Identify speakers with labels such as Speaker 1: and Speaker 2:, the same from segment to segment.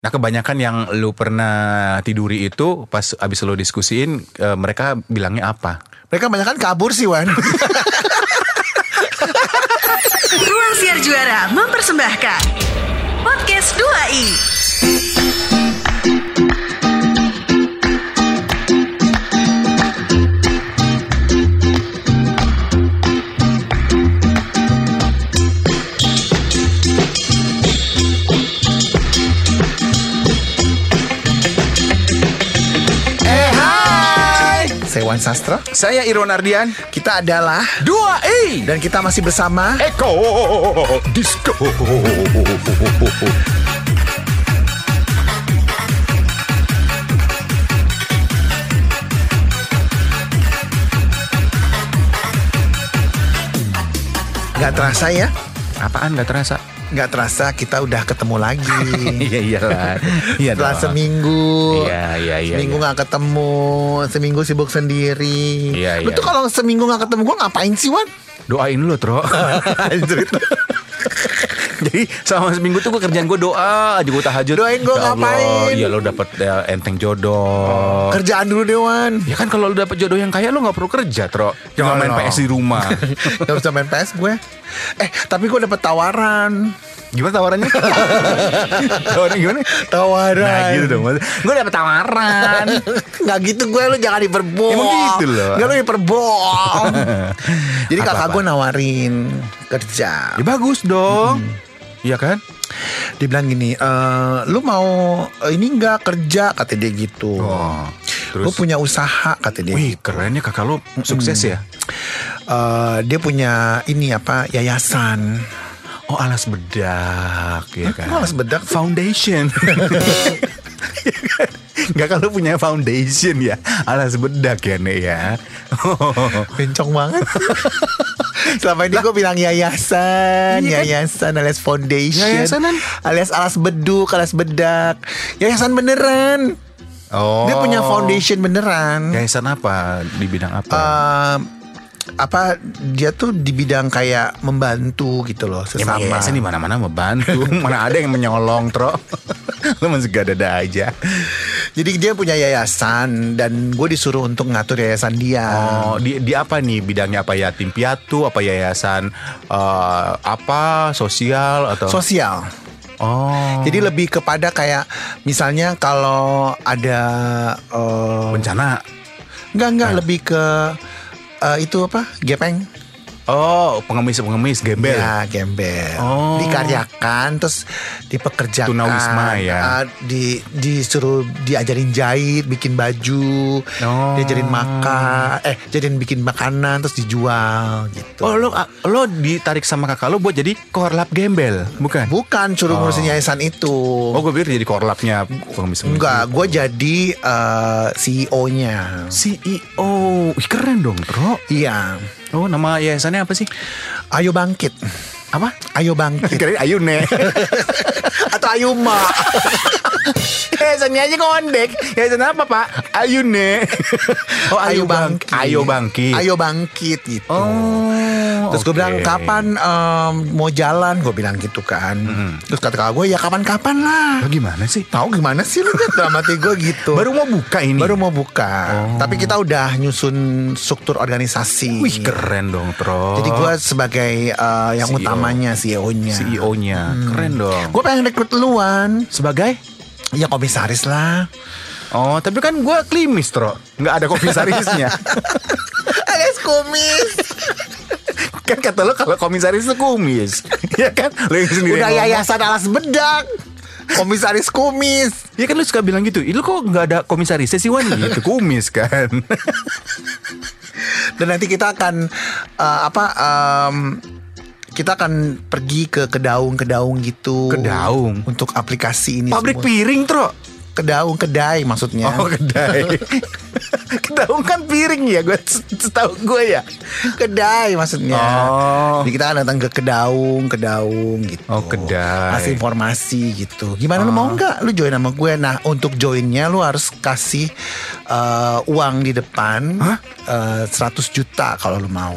Speaker 1: Nah kebanyakan yang lu pernah tiduri itu pas abis lu diskusiin eh, mereka bilangnya apa?
Speaker 2: Mereka banyak kan kabur sih Wan
Speaker 3: Ruang Siar Juara mempersembahkan Podcast 2i
Speaker 2: Eh hai Saya Wan Sastra
Speaker 1: Saya Irwan Ardian
Speaker 2: Kita adalah
Speaker 1: 2
Speaker 2: Dan kita masih bersama
Speaker 1: Eko Disco
Speaker 2: Gak terasa ya
Speaker 1: Apaan gak terasa?
Speaker 2: Gak terasa kita udah ketemu lagi
Speaker 1: Iya iyalah Iya
Speaker 2: Setelah
Speaker 1: dong.
Speaker 2: seminggu
Speaker 1: Iya, iya, iya,
Speaker 2: Seminggu
Speaker 1: iya.
Speaker 2: nggak ketemu Seminggu sibuk sendiri
Speaker 1: Iya, iya,
Speaker 2: Lu tuh
Speaker 1: iya.
Speaker 2: kalau seminggu gak ketemu gue ngapain sih Wan?
Speaker 1: Doain lu Tro Jadi selama seminggu tuh gue kerjaan gue doa aja gue tahajud
Speaker 2: Doain
Speaker 1: Ya
Speaker 2: gua
Speaker 1: Allah,
Speaker 2: ngapain? Oh.
Speaker 1: Ya lo dapet ya, enteng jodoh
Speaker 2: Kerjaan dulu deh Wan
Speaker 1: Ya kan kalau lu dapet jodoh yang kaya lu gak perlu kerja Tro Jangan
Speaker 2: No,
Speaker 1: main
Speaker 2: no.
Speaker 1: PS di rumah
Speaker 2: Gak bisa main PS gue Eh tapi gue dapet tawaran
Speaker 1: Gimana tawarannya? tawarannya gimana?
Speaker 2: Tawaran
Speaker 1: Nah gitu dong Gue dapet tawaran
Speaker 2: Nggak gitu gue lu jangan diperbohong
Speaker 1: Emang gitu loh.
Speaker 2: Nggak lu diperbohong Jadi kakak
Speaker 1: Apa-apa?
Speaker 2: gue nawarin kerja
Speaker 1: Ya bagus dong Iya kan?
Speaker 2: Dia bilang gini "Eh, Lu mau eh, ini nggak kerja Kata dia gitu
Speaker 1: Oh, terus?
Speaker 2: Gue punya usaha kata dia
Speaker 1: Wih kerennya kakak lu sukses ya
Speaker 2: Eh, Dia punya ini apa Yayasan
Speaker 1: Oh alas bedak ya kan?
Speaker 2: kok alas bedak sih?
Speaker 1: Foundation. Gak kalau punya foundation ya alas bedak ya nek ya.
Speaker 2: Bencong banget Selama ini gue bilang yayasan
Speaker 1: Iya kan?
Speaker 2: Yayasan alias foundation
Speaker 1: Yayasanan.
Speaker 2: Alias alas beduk Alas bedak Yayasan beneran
Speaker 1: oh. Ya.
Speaker 2: Dia punya foundation beneran
Speaker 1: Yayasan apa di bidang apa?
Speaker 2: Eh, apa dia tuh di bidang kayak membantu gitu loh
Speaker 1: Emang
Speaker 2: sesama.
Speaker 1: yayasan Ya, di mana-mana membantu, mana ada yang menyolong, Tro. Lu masih gak dada aja.
Speaker 2: Jadi dia punya yayasan dan gue disuruh untuk ngatur yayasan dia.
Speaker 1: Oh, di, di apa nih bidangnya apa yatim piatu, apa yayasan eh, apa sosial atau
Speaker 2: Sosial.
Speaker 1: Oh.
Speaker 2: Jadi lebih kepada kayak misalnya kalau ada eh,
Speaker 1: bencana.
Speaker 2: enggak
Speaker 1: Nah.
Speaker 2: enggak lebih ke eh, itu apa? Gepeng.
Speaker 1: Oh, pengemis-pengemis gembel.
Speaker 2: Ya, gembel.
Speaker 1: Oh.
Speaker 2: Dikaryakan terus dipekerjakan.
Speaker 1: Tunawisma ya.
Speaker 2: Ah, di disuruh diajarin jahit, bikin baju,
Speaker 1: Oh.
Speaker 2: diajarin makan, eh jadiin bikin makanan terus dijual gitu.
Speaker 1: Oh lo lo ditarik sama kakak lo buat jadi korlap gembel, bukan?
Speaker 2: Bukan
Speaker 1: Oh.
Speaker 2: suruh ngurusin yayasan itu.
Speaker 1: Oh gue pikir jadi korlapnya pengemis
Speaker 2: Enggak, gue jadi eh, E CEO-nya.
Speaker 1: CEO, E Ih, keren dong bro.
Speaker 2: Iya.
Speaker 1: Oh nama yayasannya apa sih?
Speaker 2: Ayo bangkit.
Speaker 1: Apa?
Speaker 2: Ayo bangkit.
Speaker 1: Keren Ayu ne.
Speaker 2: Atau ayo ma.
Speaker 1: Yayasannya Eh, aja ngondek. Yayasan apa pak? Ayu ne. Oh Ayu, bang. Ayo bangkit.
Speaker 2: Ayo bangkit gitu.
Speaker 1: Oh.
Speaker 2: Terus gue
Speaker 1: oke.
Speaker 2: bilang kapan em, mau jalan gue bilang gitu kan.
Speaker 1: Mm-hmm.
Speaker 2: Terus kata kakak gue ya kapan-kapan lah.
Speaker 1: Lo gimana sih?
Speaker 2: Tahu gimana sih lu kan dalam hati gue gitu.
Speaker 1: Baru mau buka ini.
Speaker 2: Baru mau buka.
Speaker 1: Oh.
Speaker 2: Tapi kita udah nyusun struktur organisasi.
Speaker 1: Wih keren E dong bro.
Speaker 2: Jadi gue sebagai eh, yang
Speaker 1: CEO.
Speaker 2: utamanya CEO-nya.
Speaker 1: CEO-nya E
Speaker 2: Hmm.
Speaker 1: keren dong.
Speaker 2: Gue pengen rekrut luan.
Speaker 1: sebagai
Speaker 2: Ya komisaris lah.
Speaker 1: Oh, tapi kan gue klimis, Tro. Nggak ada komisarisnya.
Speaker 2: Alias komis.
Speaker 1: kan kata lo kalau komisaris itu kumis. ya kan? Lo yang sendiri
Speaker 2: udah iya,
Speaker 1: yang ngomong.
Speaker 2: yayasan alas bedak. Komisaris komis.
Speaker 1: Ya kan lo suka bilang gitu. Ih, Lo kok nggak ada komisarisnya sih, Wan? Gitu, kumis kan.
Speaker 2: Iya, Dan nanti kita akan eh, apa? em, kita akan pergi ke kedaung-kedaung gitu.
Speaker 1: Kedaung?
Speaker 2: Untuk aplikasi ini.
Speaker 1: Pabrik
Speaker 2: semua.
Speaker 1: piring, Tro.
Speaker 2: Kedaung kedai maksudnya.
Speaker 1: Oh, kedai. Kedaung kan piring ya, gue setahu gue ya.
Speaker 2: kedai maksudnya.
Speaker 1: Oh.
Speaker 2: Jadi kita akan datang ke kedaung, kedaung gitu.
Speaker 1: Oh, kedai.
Speaker 2: Kasih informasi gitu. Gimana lu mau nggak? Lu join sama gue. Nah untuk joinnya lu harus kasih eh, uang di depan eh, 100 juta kalau lu mau.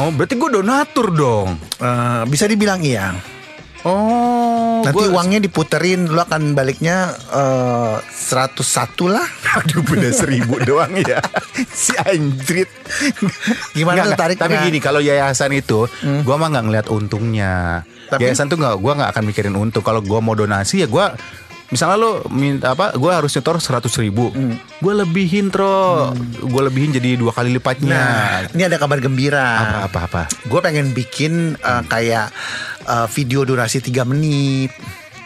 Speaker 1: Oh, berarti gue donatur dong.
Speaker 2: Eh, bisa dibilang iya.
Speaker 1: Oh,
Speaker 2: Nanti
Speaker 1: gua-
Speaker 2: uangnya diputerin, lu akan baliknya eh, 101 lah.
Speaker 1: Aduh beda seribu doang ya Si anjrit Nggak, nggak.
Speaker 2: Gimana tuh
Speaker 1: Hmm.
Speaker 2: tariknya?
Speaker 1: Tapi gini kalau yayasan itu Gua mah gak ngeliat untungnya
Speaker 2: Tapi-
Speaker 1: Yayasan tuh gak, gua gak akan mikirin untung Kalau gua mau donasi ya gua Misalnya lo minta apa Gua harus nyetor 100 ribu Gua lebihin tro Gua lebihin jadi dua kali lipatnya
Speaker 2: Nah, ini ada kabar gembira.
Speaker 1: Apa-apa-apa
Speaker 2: Gue pengen bikin
Speaker 1: Hmm.
Speaker 2: eh, kayak eh, video durasi 3 menit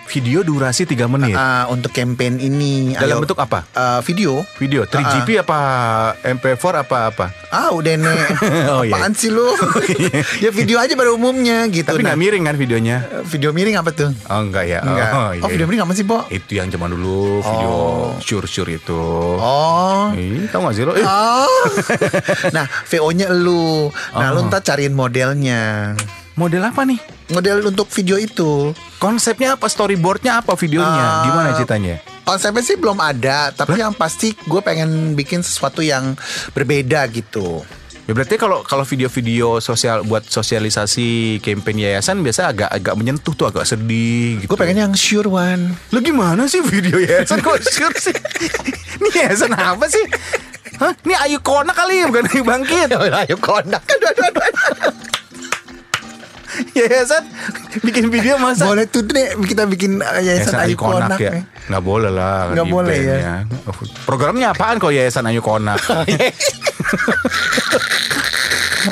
Speaker 1: Video durasi 3 menit
Speaker 2: eh, untuk campaign ini.
Speaker 1: Iya. Dalam bentuk apa?
Speaker 2: Eh, video. Uh,
Speaker 1: Video 3GP apa MP4 apa apa
Speaker 2: Ah, udah nih.
Speaker 1: Oh, iya.
Speaker 2: Apaan sih lu? ya video aja pada umumnya gitu.
Speaker 1: Tapi
Speaker 2: Nah,
Speaker 1: nggak miring kan videonya
Speaker 2: video miring apa tuh?
Speaker 1: Oh enggak ya
Speaker 2: Enggak.
Speaker 1: Oh,
Speaker 2: Oh,
Speaker 1: iya.
Speaker 2: video miring apa sih, Bo?
Speaker 1: Itu yang zaman dulu video syur-syur itu.
Speaker 2: Oh.
Speaker 1: Ih, tau gak sih lo? Eh,
Speaker 2: Oh. nah, VO-nya lu. Nah,
Speaker 1: Oh.
Speaker 2: lu ntar cariin modelnya.
Speaker 1: model apa nih?
Speaker 2: Model untuk video itu.
Speaker 1: Konsepnya apa? Storyboardnya apa? Videonya?
Speaker 2: Ah.
Speaker 1: Gimana ceritanya?
Speaker 2: Konsepnya sih belum ada, tapi yang pasti gue pengen bikin sesuatu yang berbeda gitu.
Speaker 1: Ya berarti kalau kalau video-video sosial buat sosialisasi campaign yayasan biasa agak agak menyentuh tuh agak sedih gitu.
Speaker 2: Gue pengen yang sure one.
Speaker 1: Lu gimana sih video yayasan kok syur sih? Ini yayasan apa sih? Hah? Ini Ayu Kona kali bukan Ayu Bangkit.
Speaker 2: Ayo konak. Aduh, aduh, aduh, aduh.
Speaker 1: Yayasan bikin video masa
Speaker 2: Boleh tuh deh kita bikin uh, yayasan Ayu Konak. ya.
Speaker 1: eh. Nggak boleh lah.
Speaker 2: Nggak
Speaker 1: di
Speaker 2: boleh
Speaker 1: band
Speaker 2: ya.
Speaker 1: Programnya apaan kalau Yayasan Ayu Konak?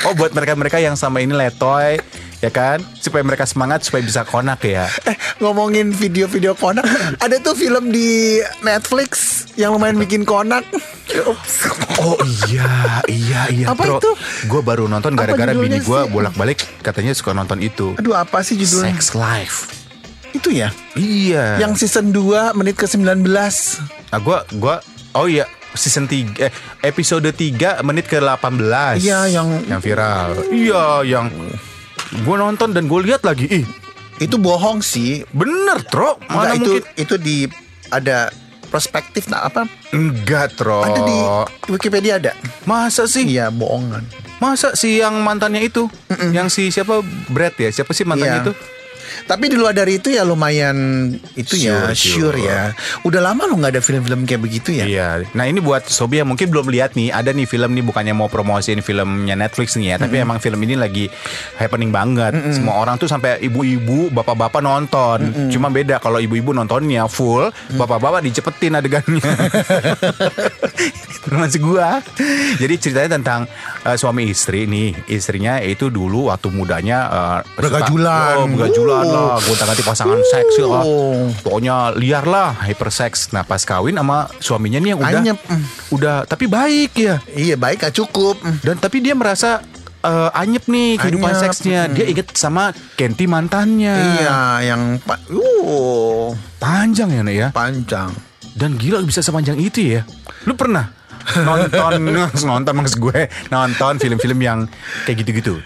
Speaker 1: oh buat mereka-mereka yang sama ini letoy ya kan supaya mereka semangat supaya bisa konak ya
Speaker 2: Eh, ngomongin video-video konak, ada tuh film di Netflix yang lumayan bikin konak. Ups.
Speaker 1: oh iya iya iya
Speaker 2: Apa
Speaker 1: Tro.
Speaker 2: itu?
Speaker 1: gue baru nonton
Speaker 2: Apa
Speaker 1: gara-gara bini
Speaker 2: judulnya
Speaker 1: gue
Speaker 2: sih?
Speaker 1: bolak-balik katanya suka nonton itu
Speaker 2: Aduh, apa sih judulnya?
Speaker 1: sex life
Speaker 2: Itu ya.
Speaker 1: iya
Speaker 2: Yang season 2 menit ke-19.
Speaker 1: nah gue gua oh iya season 3 eh, episode 3 menit ke-18.
Speaker 2: Iya, yang-
Speaker 1: yang viral. Iya, yang gue nonton dan gue lihat lagi. Ih,
Speaker 2: Itu bohong sih.
Speaker 1: bener, Tro. Mana
Speaker 2: Enggak itu
Speaker 1: mungkin
Speaker 2: itu di ada prospektif nah apa?
Speaker 1: enggak, Tro.
Speaker 2: Ada di
Speaker 1: Oh.
Speaker 2: Wikipedia ada.
Speaker 1: Masa sih?
Speaker 2: Iya, bohongan.
Speaker 1: Masa si yang mantannya itu? Yang si siapa Brad ya? Siapa sih mantannya
Speaker 2: Iya.
Speaker 1: itu?
Speaker 2: Tapi di luar dari itu ya lumayan itu ya
Speaker 1: Sure,
Speaker 2: sure,
Speaker 1: sure.
Speaker 2: ya. Udah lama lu nggak ada film-film kayak begitu ya?
Speaker 1: Iya. Nah ini buat Sobi yang mungkin belum lihat nih, ada nih film nih bukannya mau promosiin filmnya Netflix nih ya, tapi emang film ini lagi happening banget. Semua orang tuh sampai ibu-ibu, bapak-bapak nonton. Cuma beda kalau ibu-ibu nontonnya full,
Speaker 2: Mm.
Speaker 1: bapak-bapak dicepetin adegannya. Termasuk gua. Jadi ceritanya tentang eh, suami istri nih, istrinya itu dulu waktu mudanya eh, suka-
Speaker 2: Bergajulan.
Speaker 1: Oh, bergajulan
Speaker 2: Uh.
Speaker 1: lah, gonta-ganti pasangan seksi lah.
Speaker 2: Uh.
Speaker 1: Pokoknya liar lah, hypersex. Nah pas kawin sama suaminya nih yang udah,
Speaker 2: Anyep. Mm.
Speaker 1: udah tapi baik ya.
Speaker 2: Iya, baik gak cukup. Mm.
Speaker 1: Dan tapi dia merasa eh, anyep nih kehidupan
Speaker 2: Anyep,
Speaker 1: seksnya. Dia inget sama Kenti mantannya.
Speaker 2: Iya, yang pa- uh,
Speaker 1: Panjang ya Nek ya.
Speaker 2: panjang.
Speaker 1: Dan gila bisa sepanjang itu ya. Lu pernah nonton nonton maksud gue nonton film-film yang kayak gitu-gitu.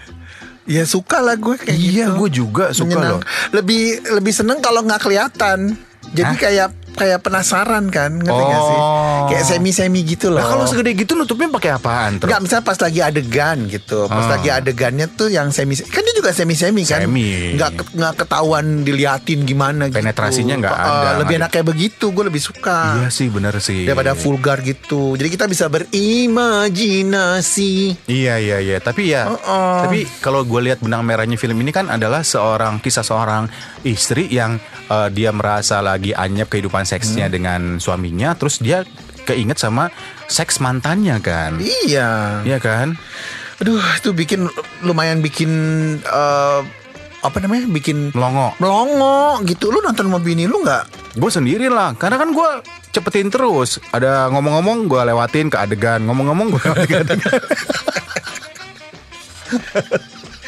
Speaker 2: Ya suka lah gue kayak
Speaker 1: Iya,
Speaker 2: gitu.
Speaker 1: gue juga suka loh.
Speaker 2: Lebih lebih seneng kalau nggak kelihatan. Jadi
Speaker 1: Hah?
Speaker 2: kayak kayak penasaran kan, ngerti nggak sih?
Speaker 1: Oh.
Speaker 2: Kayak semi-semi gitu loh.
Speaker 1: Nah, kalau segede gitu nutupnya pakai apaan, Tro?
Speaker 2: Enggak, misalnya pas lagi adegan gitu. Pas
Speaker 1: Ah.
Speaker 2: lagi adegannya tuh yang semi kan dia juga semi-semi kan.
Speaker 1: Semi.
Speaker 2: Enggak ke- enggak ketahuan diliatin gimana gitu.
Speaker 1: Penetrasinya nggak
Speaker 2: Eh,
Speaker 1: ada.
Speaker 2: lebih enak kayak begitu, gue lebih suka.
Speaker 1: Iya sih bener sih.
Speaker 2: Daripada vulgar gitu. Jadi kita bisa berimajinasi.
Speaker 1: Iya iya iya, tapi ya,
Speaker 2: Uh-uh.
Speaker 1: tapi kalau gue lihat benang merahnya film ini kan adalah seorang kisah seorang istri yang eh, dia merasa lagi anyep kehidupan
Speaker 2: Hmm.
Speaker 1: seksnya dengan suaminya, terus dia keinget sama seks mantannya kan,
Speaker 2: Iya.
Speaker 1: iya kan?
Speaker 2: Aduh, itu bikin lumayan bikin eh, apa namanya? Bikin
Speaker 1: Melongo.
Speaker 2: melongo gitu. Lu nonton sama bini lu nggak?
Speaker 1: Gue sendiri lah, karena kan gue cepetin terus. Ada ngomong-ngomong gue lewatin ke adegan, ngomong-ngomong gue lewatin ke adegan.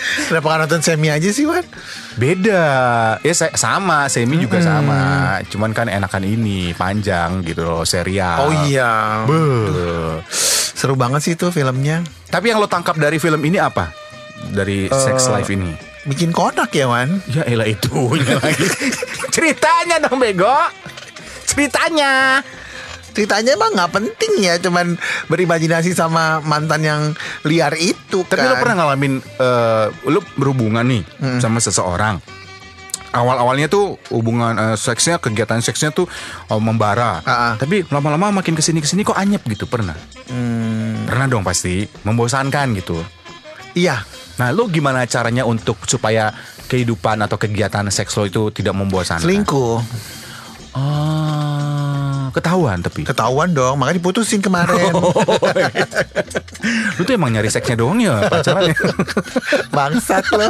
Speaker 2: Kenapa nggak nonton semi aja sih, Wan?
Speaker 1: Beda, ya se- sama, semi juga
Speaker 2: Hmm.
Speaker 1: sama. Cuman kan enakan ini panjang gitu loh serial.
Speaker 2: Oh iya.
Speaker 1: Beuh.
Speaker 2: Seru banget sih itu filmnya.
Speaker 1: Tapi yang lo tangkap dari film ini apa? Dari sex life ini?
Speaker 2: Bikin kotak ya, Wan?
Speaker 1: Eh, Ya elah itunya lagi. Ceritanya dong bego. Ceritanya.
Speaker 2: ceritanya emang nggak penting ya cuman berimajinasi sama mantan yang liar itu
Speaker 1: Tapi
Speaker 2: kan
Speaker 1: Hmm. lo pernah ngalamin eh, lo berhubungan nih sama seseorang. awal-awalnya tuh hubungan eh, seksnya kegiatan seksnya tuh eh, membara.
Speaker 2: Ah, ah.
Speaker 1: Tapi lama-lama makin kesini kesini kok anyep gitu pernah. Pernah dong pasti membosankan gitu.
Speaker 2: Iya.
Speaker 1: Nah lo gimana caranya untuk supaya kehidupan atau kegiatan seks lo itu tidak membosankan?
Speaker 2: Selingkuh.
Speaker 1: Ah, ketahuan tapi.
Speaker 2: Ketahuan dong, makanya diputusin kemarin.
Speaker 1: Lu tuh emang nyari seksnya doang ya pacarannya.
Speaker 2: Bangsat lo.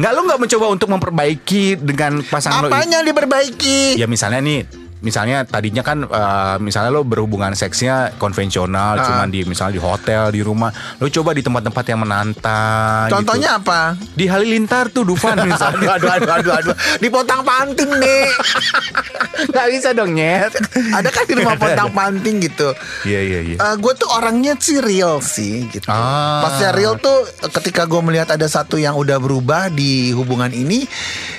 Speaker 1: Enggak lu nggak mencoba untuk memperbaiki dengan pasangan lo
Speaker 2: Apanya diperbaiki?
Speaker 1: Ya misalnya nih Misalnya tadinya kan eh, misalnya lo berhubungan seksnya konvensional
Speaker 2: Ah.
Speaker 1: cuman di misalnya di hotel, di rumah. Lo coba di tempat-tempat yang menantang gitu.
Speaker 2: Contohnya apa?
Speaker 1: di Halilintar tuh Dufan
Speaker 2: Aduh,
Speaker 1: misalnya.
Speaker 2: aduh, aduh, aduh, aduh. Dipotang panting nih.
Speaker 1: Gak bisa dong, Nyet.
Speaker 2: Ada kan di rumah potang panting gitu.
Speaker 1: Iya, iya, iya.
Speaker 2: gue tuh orangnya sih real sih gitu.
Speaker 1: Ah.
Speaker 2: Pasnya real tuh eh, ketika gue melihat ada satu yang udah berubah di hubungan ini,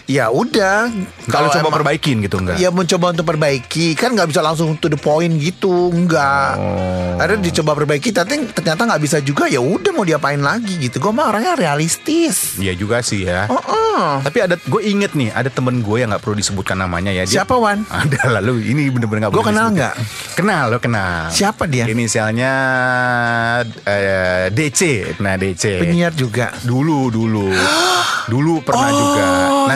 Speaker 2: ya udah.
Speaker 1: Kalau coba
Speaker 2: emang-
Speaker 1: perbaikin gitu enggak?
Speaker 2: Ya mencoba untuk perbaiki kan nggak bisa langsung to the point gitu nggak.
Speaker 1: Oh.
Speaker 2: Ada dicoba perbaiki tapi ternyata nggak bisa juga ya udah mau diapain lagi gitu. Gue mah orangnya realistis.
Speaker 1: Iya juga sih ya.
Speaker 2: Oh,
Speaker 1: Tapi ada gue inget nih ada temen gue yang nggak perlu disebutkan namanya ya. Dia,
Speaker 2: Siapa, Wan?
Speaker 1: Ada lalu ini bener-bener nggak
Speaker 2: Gua
Speaker 1: boleh
Speaker 2: kenal
Speaker 1: disebutin.
Speaker 2: nggak?
Speaker 1: Kenal lo kenal.
Speaker 2: Siapa dia?
Speaker 1: Inisialnya eh, DC. Nah DC.
Speaker 2: penyiar juga.
Speaker 1: Dulu dulu dulu pernah
Speaker 2: Oh,
Speaker 1: juga.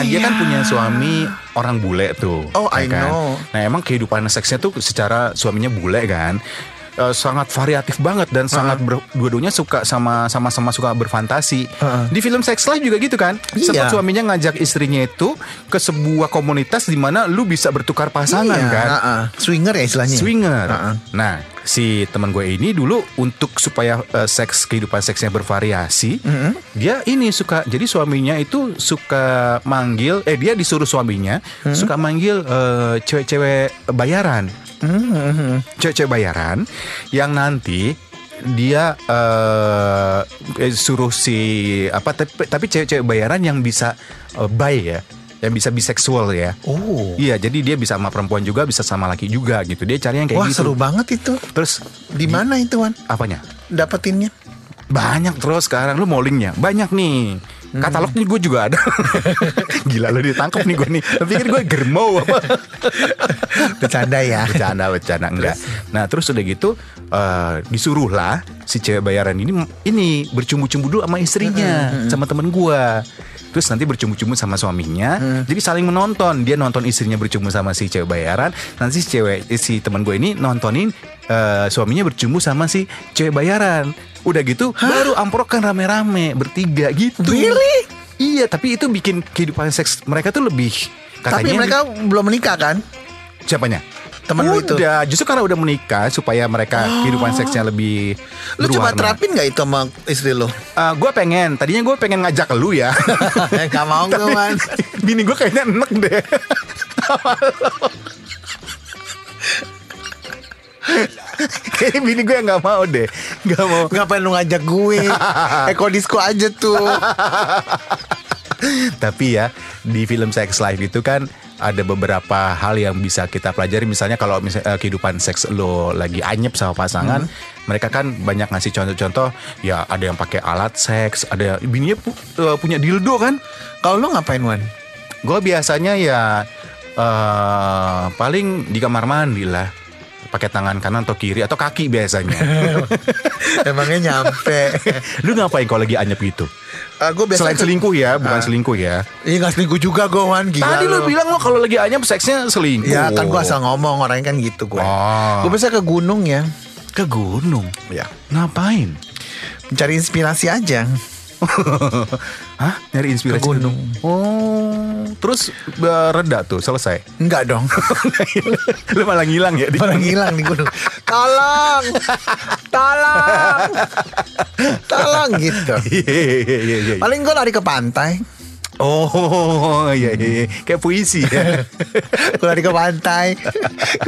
Speaker 1: Nah dia kan
Speaker 2: iya.
Speaker 1: punya suami orang bule tuh.
Speaker 2: Oh, I
Speaker 1: kan?
Speaker 2: know.
Speaker 1: Nah emang kehidupan seksnya tuh secara suaminya bule kan. eh, sangat variatif banget dan sangat ber- dua-duanya suka sama sama sama suka berfantasi.
Speaker 2: Uh-uh.
Speaker 1: Di film Sex Life juga gitu kan.
Speaker 2: Iya.
Speaker 1: Sempat suaminya ngajak istrinya itu ke sebuah komunitas di mana lu bisa bertukar pasangan
Speaker 2: Iya,
Speaker 1: kan.
Speaker 2: uh-uh. Swinger ya istilahnya.
Speaker 1: Swinger.
Speaker 2: Uh-uh.
Speaker 1: Nah, si teman gue ini dulu untuk supaya eh, seks kehidupan seksnya bervariasi, dia ini suka jadi suaminya itu suka manggil eh dia disuruh suaminya suka manggil eh, cewek-cewek bayaran.
Speaker 2: Mm-hmm.
Speaker 1: Cewek-cewek bayaran yang nanti dia eh, eh, suruh si apa tapi, tapi cewek-cewek bayaran yang bisa eh, buy ya, yang bisa biseksual ya.
Speaker 2: Oh.
Speaker 1: Iya, jadi dia bisa sama perempuan juga, bisa sama laki juga gitu. Dia cari yang kayak
Speaker 2: Wah
Speaker 1: gitu. Iya.
Speaker 2: seru banget itu.
Speaker 1: Terus
Speaker 2: Di mana itu Wan?
Speaker 1: apanya?
Speaker 2: Dapetinnya?
Speaker 1: Banyak terus sekarang lu mau linknya banyak nih.
Speaker 2: Hmm.
Speaker 1: Katalog nih gue juga ada. Gila lu ditangkap nih gue nih. Lu pikir gue germo apa?
Speaker 2: Bercanda ya.
Speaker 1: Bercanda, bercanda enggak. Nah, terus udah gitu eh, disuruhlah si cewek bayaran ini ini bercumbu-cumbu dulu sama istrinya, sama temen gua. Terus nanti bercumbu-cumbu sama suaminya.
Speaker 2: Mm.
Speaker 1: Jadi saling menonton. Dia nonton istrinya bercumbu sama si cewek bayaran, nanti si cewek eh, si teman gue ini nontonin eh, suaminya bercumbu sama si cewek bayaran. Udah gitu baru amprokan rame-rame bertiga gitu.
Speaker 2: Really?
Speaker 1: Iya, tapi itu bikin kehidupan seks mereka tuh lebih katanya
Speaker 2: Tapi mereka belum menikah kan?
Speaker 1: siapanya?
Speaker 2: Temen lu itu.
Speaker 1: udah, justru karena udah menikah supaya mereka kehidupan seksnya lebih
Speaker 2: Lu coba
Speaker 1: berwarna.
Speaker 2: terapin gak itu sama istri lu?
Speaker 1: Eh, gue pengen, tadinya gue pengen ngajak lu ya.
Speaker 2: gak mau gue Wan
Speaker 1: Bini gue kayaknya enek deh. Kayaknya bini gue yang gak mau deh Gak mau
Speaker 2: Ngapain lu ngajak gue Eko disco aja tuh
Speaker 1: Tapi ya di film Sex Life itu kan ada beberapa hal yang bisa kita pelajari misalnya kalau misal- eh, kehidupan seks lo lagi anyep sama pasangan
Speaker 2: Hmm.
Speaker 1: mereka kan banyak ngasih contoh-contoh ya ada yang pakai alat seks ada bininya pu- eh, punya dildo kan
Speaker 2: Kalau lu ngapain Wan?
Speaker 1: gue biasanya ya eh, paling di kamar mandi lah pakai tangan kanan atau kiri atau kaki biasanya
Speaker 2: Emangnya nyampe
Speaker 1: lu ngapain kalau lagi anyep gitu
Speaker 2: Eh, Gue biasanya Ah.
Speaker 1: selain selingkuh ya bukan selingkuh ya
Speaker 2: Iya gak selingkuh juga gue Wan Gila
Speaker 1: Tadi lu bilang lo kalau lagi anyep seksnya selingkuh.
Speaker 2: Ya Iya, kan gue asal ngomong Orangnya kan gitu gue
Speaker 1: Ah.
Speaker 2: Gue biasanya ke gunung ya
Speaker 1: ke gunung.
Speaker 2: Ya
Speaker 1: Ngapain?
Speaker 2: Mencari inspirasi aja
Speaker 1: Hah? Nyari inspirasi
Speaker 2: Ke gunung.
Speaker 1: Oh, terus eh, reda tuh selesai.
Speaker 2: Enggak dong
Speaker 1: lu malah ngilang ya di
Speaker 2: Orang hilang di gunung Tolong Tolong Tolong gitu
Speaker 1: Iya, iya, iya, iya.
Speaker 2: Paling gue lari ke pantai
Speaker 1: Oh, iya, iya, iya. Kayak puisi ya.
Speaker 2: Gue lari ke pantai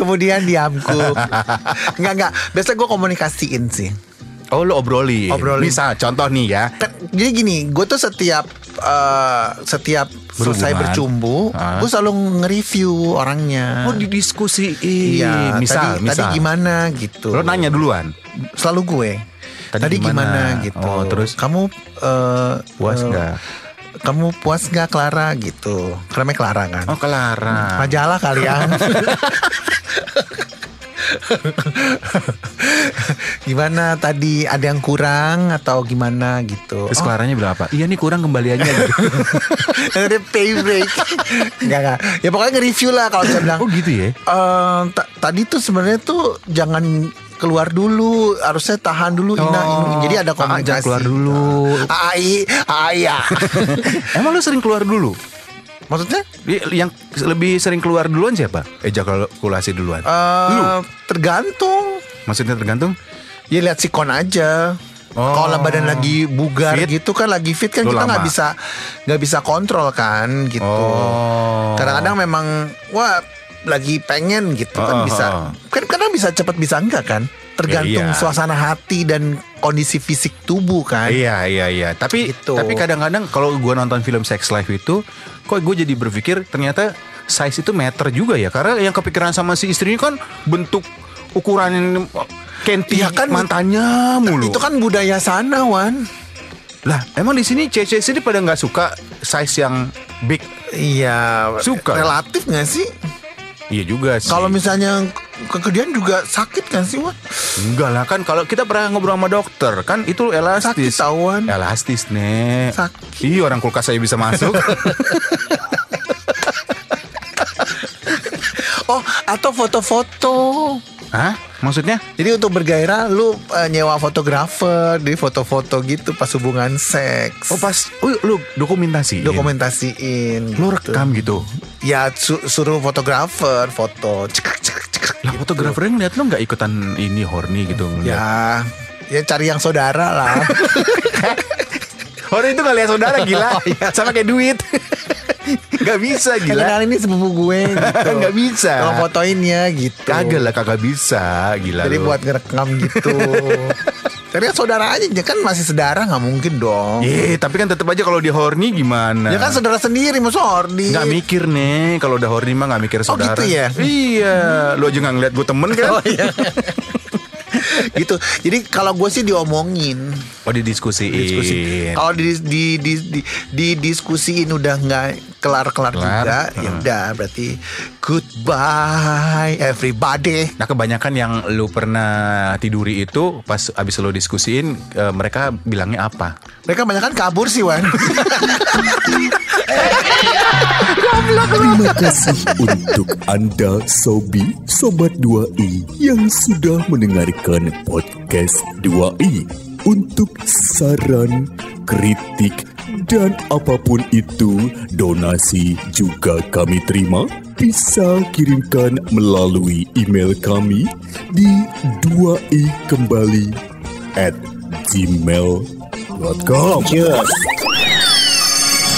Speaker 2: Kemudian diamku Enggak, enggak Biasanya gue komunikasiin sih
Speaker 1: oh, lu obrolin.
Speaker 2: Obrolin.
Speaker 1: Misal, contoh nih ya.
Speaker 2: Kan, Jadi gini Gue tuh setiap eh, Setiap selesai
Speaker 1: Berhubungan.
Speaker 2: bercumbu
Speaker 1: Ah.
Speaker 2: Gue selalu nge-review orangnya
Speaker 1: Oh, didiskusiin.
Speaker 2: Iya,
Speaker 1: misal,
Speaker 2: tadi,
Speaker 1: misal.
Speaker 2: tadi gimana gitu.
Speaker 1: Lo nanya duluan.
Speaker 2: Selalu gue.
Speaker 1: Tadi
Speaker 2: Tadi, gimana?
Speaker 1: gimana?
Speaker 2: gitu.
Speaker 1: Oh, terus?
Speaker 2: kamu eh
Speaker 1: Puas
Speaker 2: eh,
Speaker 1: nggak?
Speaker 2: kamu puas nggak Clara gitu karena Clara kan
Speaker 1: Oh, Clara.
Speaker 2: majalah kali ya gimana tadi ada yang kurang atau gimana gitu
Speaker 1: Terus Claranya bilang apa? Iya nih kurang kembaliannya gitu.
Speaker 2: Oh. ada pay break nggak nggak ya pokoknya nge-review lah kalau saya bilang
Speaker 1: Oh gitu ya?
Speaker 2: Eh, ta- tadi tuh sebenarnya tuh jangan keluar dulu harusnya tahan dulu Ina,
Speaker 1: Oh,
Speaker 2: Ina. jadi
Speaker 1: Aa, jangan
Speaker 2: ada komunikasi Ah,
Speaker 1: keluar dulu.
Speaker 2: ai ai ya
Speaker 1: Emang lu sering keluar dulu?
Speaker 2: maksudnya
Speaker 1: Y- Yang lebih sering keluar duluan siapa? Ejakulasi duluan.
Speaker 2: eh,
Speaker 1: Lu?
Speaker 2: tergantung
Speaker 1: Maksudnya tergantung?
Speaker 2: ya lihat sikon aja
Speaker 1: Oh.
Speaker 2: Kalau badan lagi bugar
Speaker 1: Fit.
Speaker 2: gitu kan lagi fit kan
Speaker 1: Lu
Speaker 2: kita nggak
Speaker 1: lama.
Speaker 2: bisa nggak bisa kontrol kan gitu.
Speaker 1: Oh.
Speaker 2: Kadang-kadang memang wah lagi pengen gitu kan
Speaker 1: Oh,
Speaker 2: bisa.
Speaker 1: oh, oh.
Speaker 2: Kan kadang bisa cepat bisa enggak kan? Tergantung
Speaker 1: Ya, iya.
Speaker 2: suasana hati dan kondisi fisik tubuh kan.
Speaker 1: Iya iya iya. Tapi
Speaker 2: Gitu.
Speaker 1: tapi kadang-kadang kalau gua nonton film Sex Life itu, kok gue jadi berpikir ternyata size itu meter juga ya. Karena yang kepikiran sama si istrinya kan bentuk ukuran kenti
Speaker 2: Iya kan,
Speaker 1: mantannya mulu.
Speaker 2: Itu kan budaya sana Wan.
Speaker 1: lah emang di sini cewek sini pada nggak suka size yang big.
Speaker 2: Iya,
Speaker 1: Suka.
Speaker 2: relatif gak sih?
Speaker 1: Iya juga sih.
Speaker 2: Kalau misalnya kegedean juga sakit kan sih, Wan?
Speaker 1: enggak lah kan kalau kita pernah ngobrol sama dokter kan itu
Speaker 2: Sakit
Speaker 1: elastis.
Speaker 2: tauan.
Speaker 1: Elastis nek.
Speaker 2: Sakit.
Speaker 1: Iya orang kulkas saya bisa masuk.
Speaker 2: Oh, atau foto-foto.
Speaker 1: Hah? Maksudnya?
Speaker 2: Jadi untuk bergairah lu eh, nyewa fotografer di foto-foto gitu pas hubungan seks.
Speaker 1: Oh pas, oh, lu dokumentasi.
Speaker 2: dokumentasiin.
Speaker 1: lu
Speaker 2: gitu.
Speaker 1: rekam gitu.
Speaker 2: Ya su- suruh fotografer foto. Cekak, cekak, cekak,
Speaker 1: Lah
Speaker 2: gitu.
Speaker 1: fotografernya ngeliat lu nggak ikutan ini horny gitu ngeliat.
Speaker 2: Ya, ya cari yang saudara lah.
Speaker 1: Horny itu nggak lihat saudara gila
Speaker 2: Oh, iya.
Speaker 1: Sama kayak duit Gak bisa gila
Speaker 2: Kenal ini sepupu gue gitu.
Speaker 1: Nggak bisa.
Speaker 2: Tolong fotoin ya gitu.
Speaker 1: Kagak lah kagak bisa Gila
Speaker 2: Jadi
Speaker 1: lu.
Speaker 2: buat ngerekam gitu. Cari yang saudara aja kan masih saudara nggak mungkin dong.
Speaker 1: Ye, tapi kan tetap aja kalau dia horny gimana
Speaker 2: Ya kan saudara sendiri masa ordi.
Speaker 1: Nggak mikir nih Kalau udah horny mah nggak mikir saudara
Speaker 2: gitu ya?
Speaker 1: Iya Lu aja nggak ngeliat gue temen kan Oh iya
Speaker 2: gitu. Jadi kalau gue sih diomongin.
Speaker 1: Oh didiskusiin Oh.
Speaker 2: diskusi.
Speaker 1: Iya.
Speaker 2: Kalau di di di di, di diskusiin udah nggak kelar-kelar
Speaker 1: Kelar.
Speaker 2: juga, ya udah berarti goodbye everybody.
Speaker 1: Nah kebanyakan yang lu pernah tiduri itu Pas abis lu diskusiin eh, Mereka bilangnya apa?
Speaker 2: Mereka banyak kan kabur sih Wan.
Speaker 4: Terima kasih untuk Anda Sobi Sobat 2i yang sudah mendengarkan podcast 2i. Untuk saran, kritik, dan apapun itu, donasi juga kami terima. Bisa kirimkan melalui email kami di 2i kembali at gmail.com.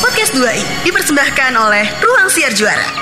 Speaker 3: Podcast 2i dipersembahkan oleh Ruang Siar Juara.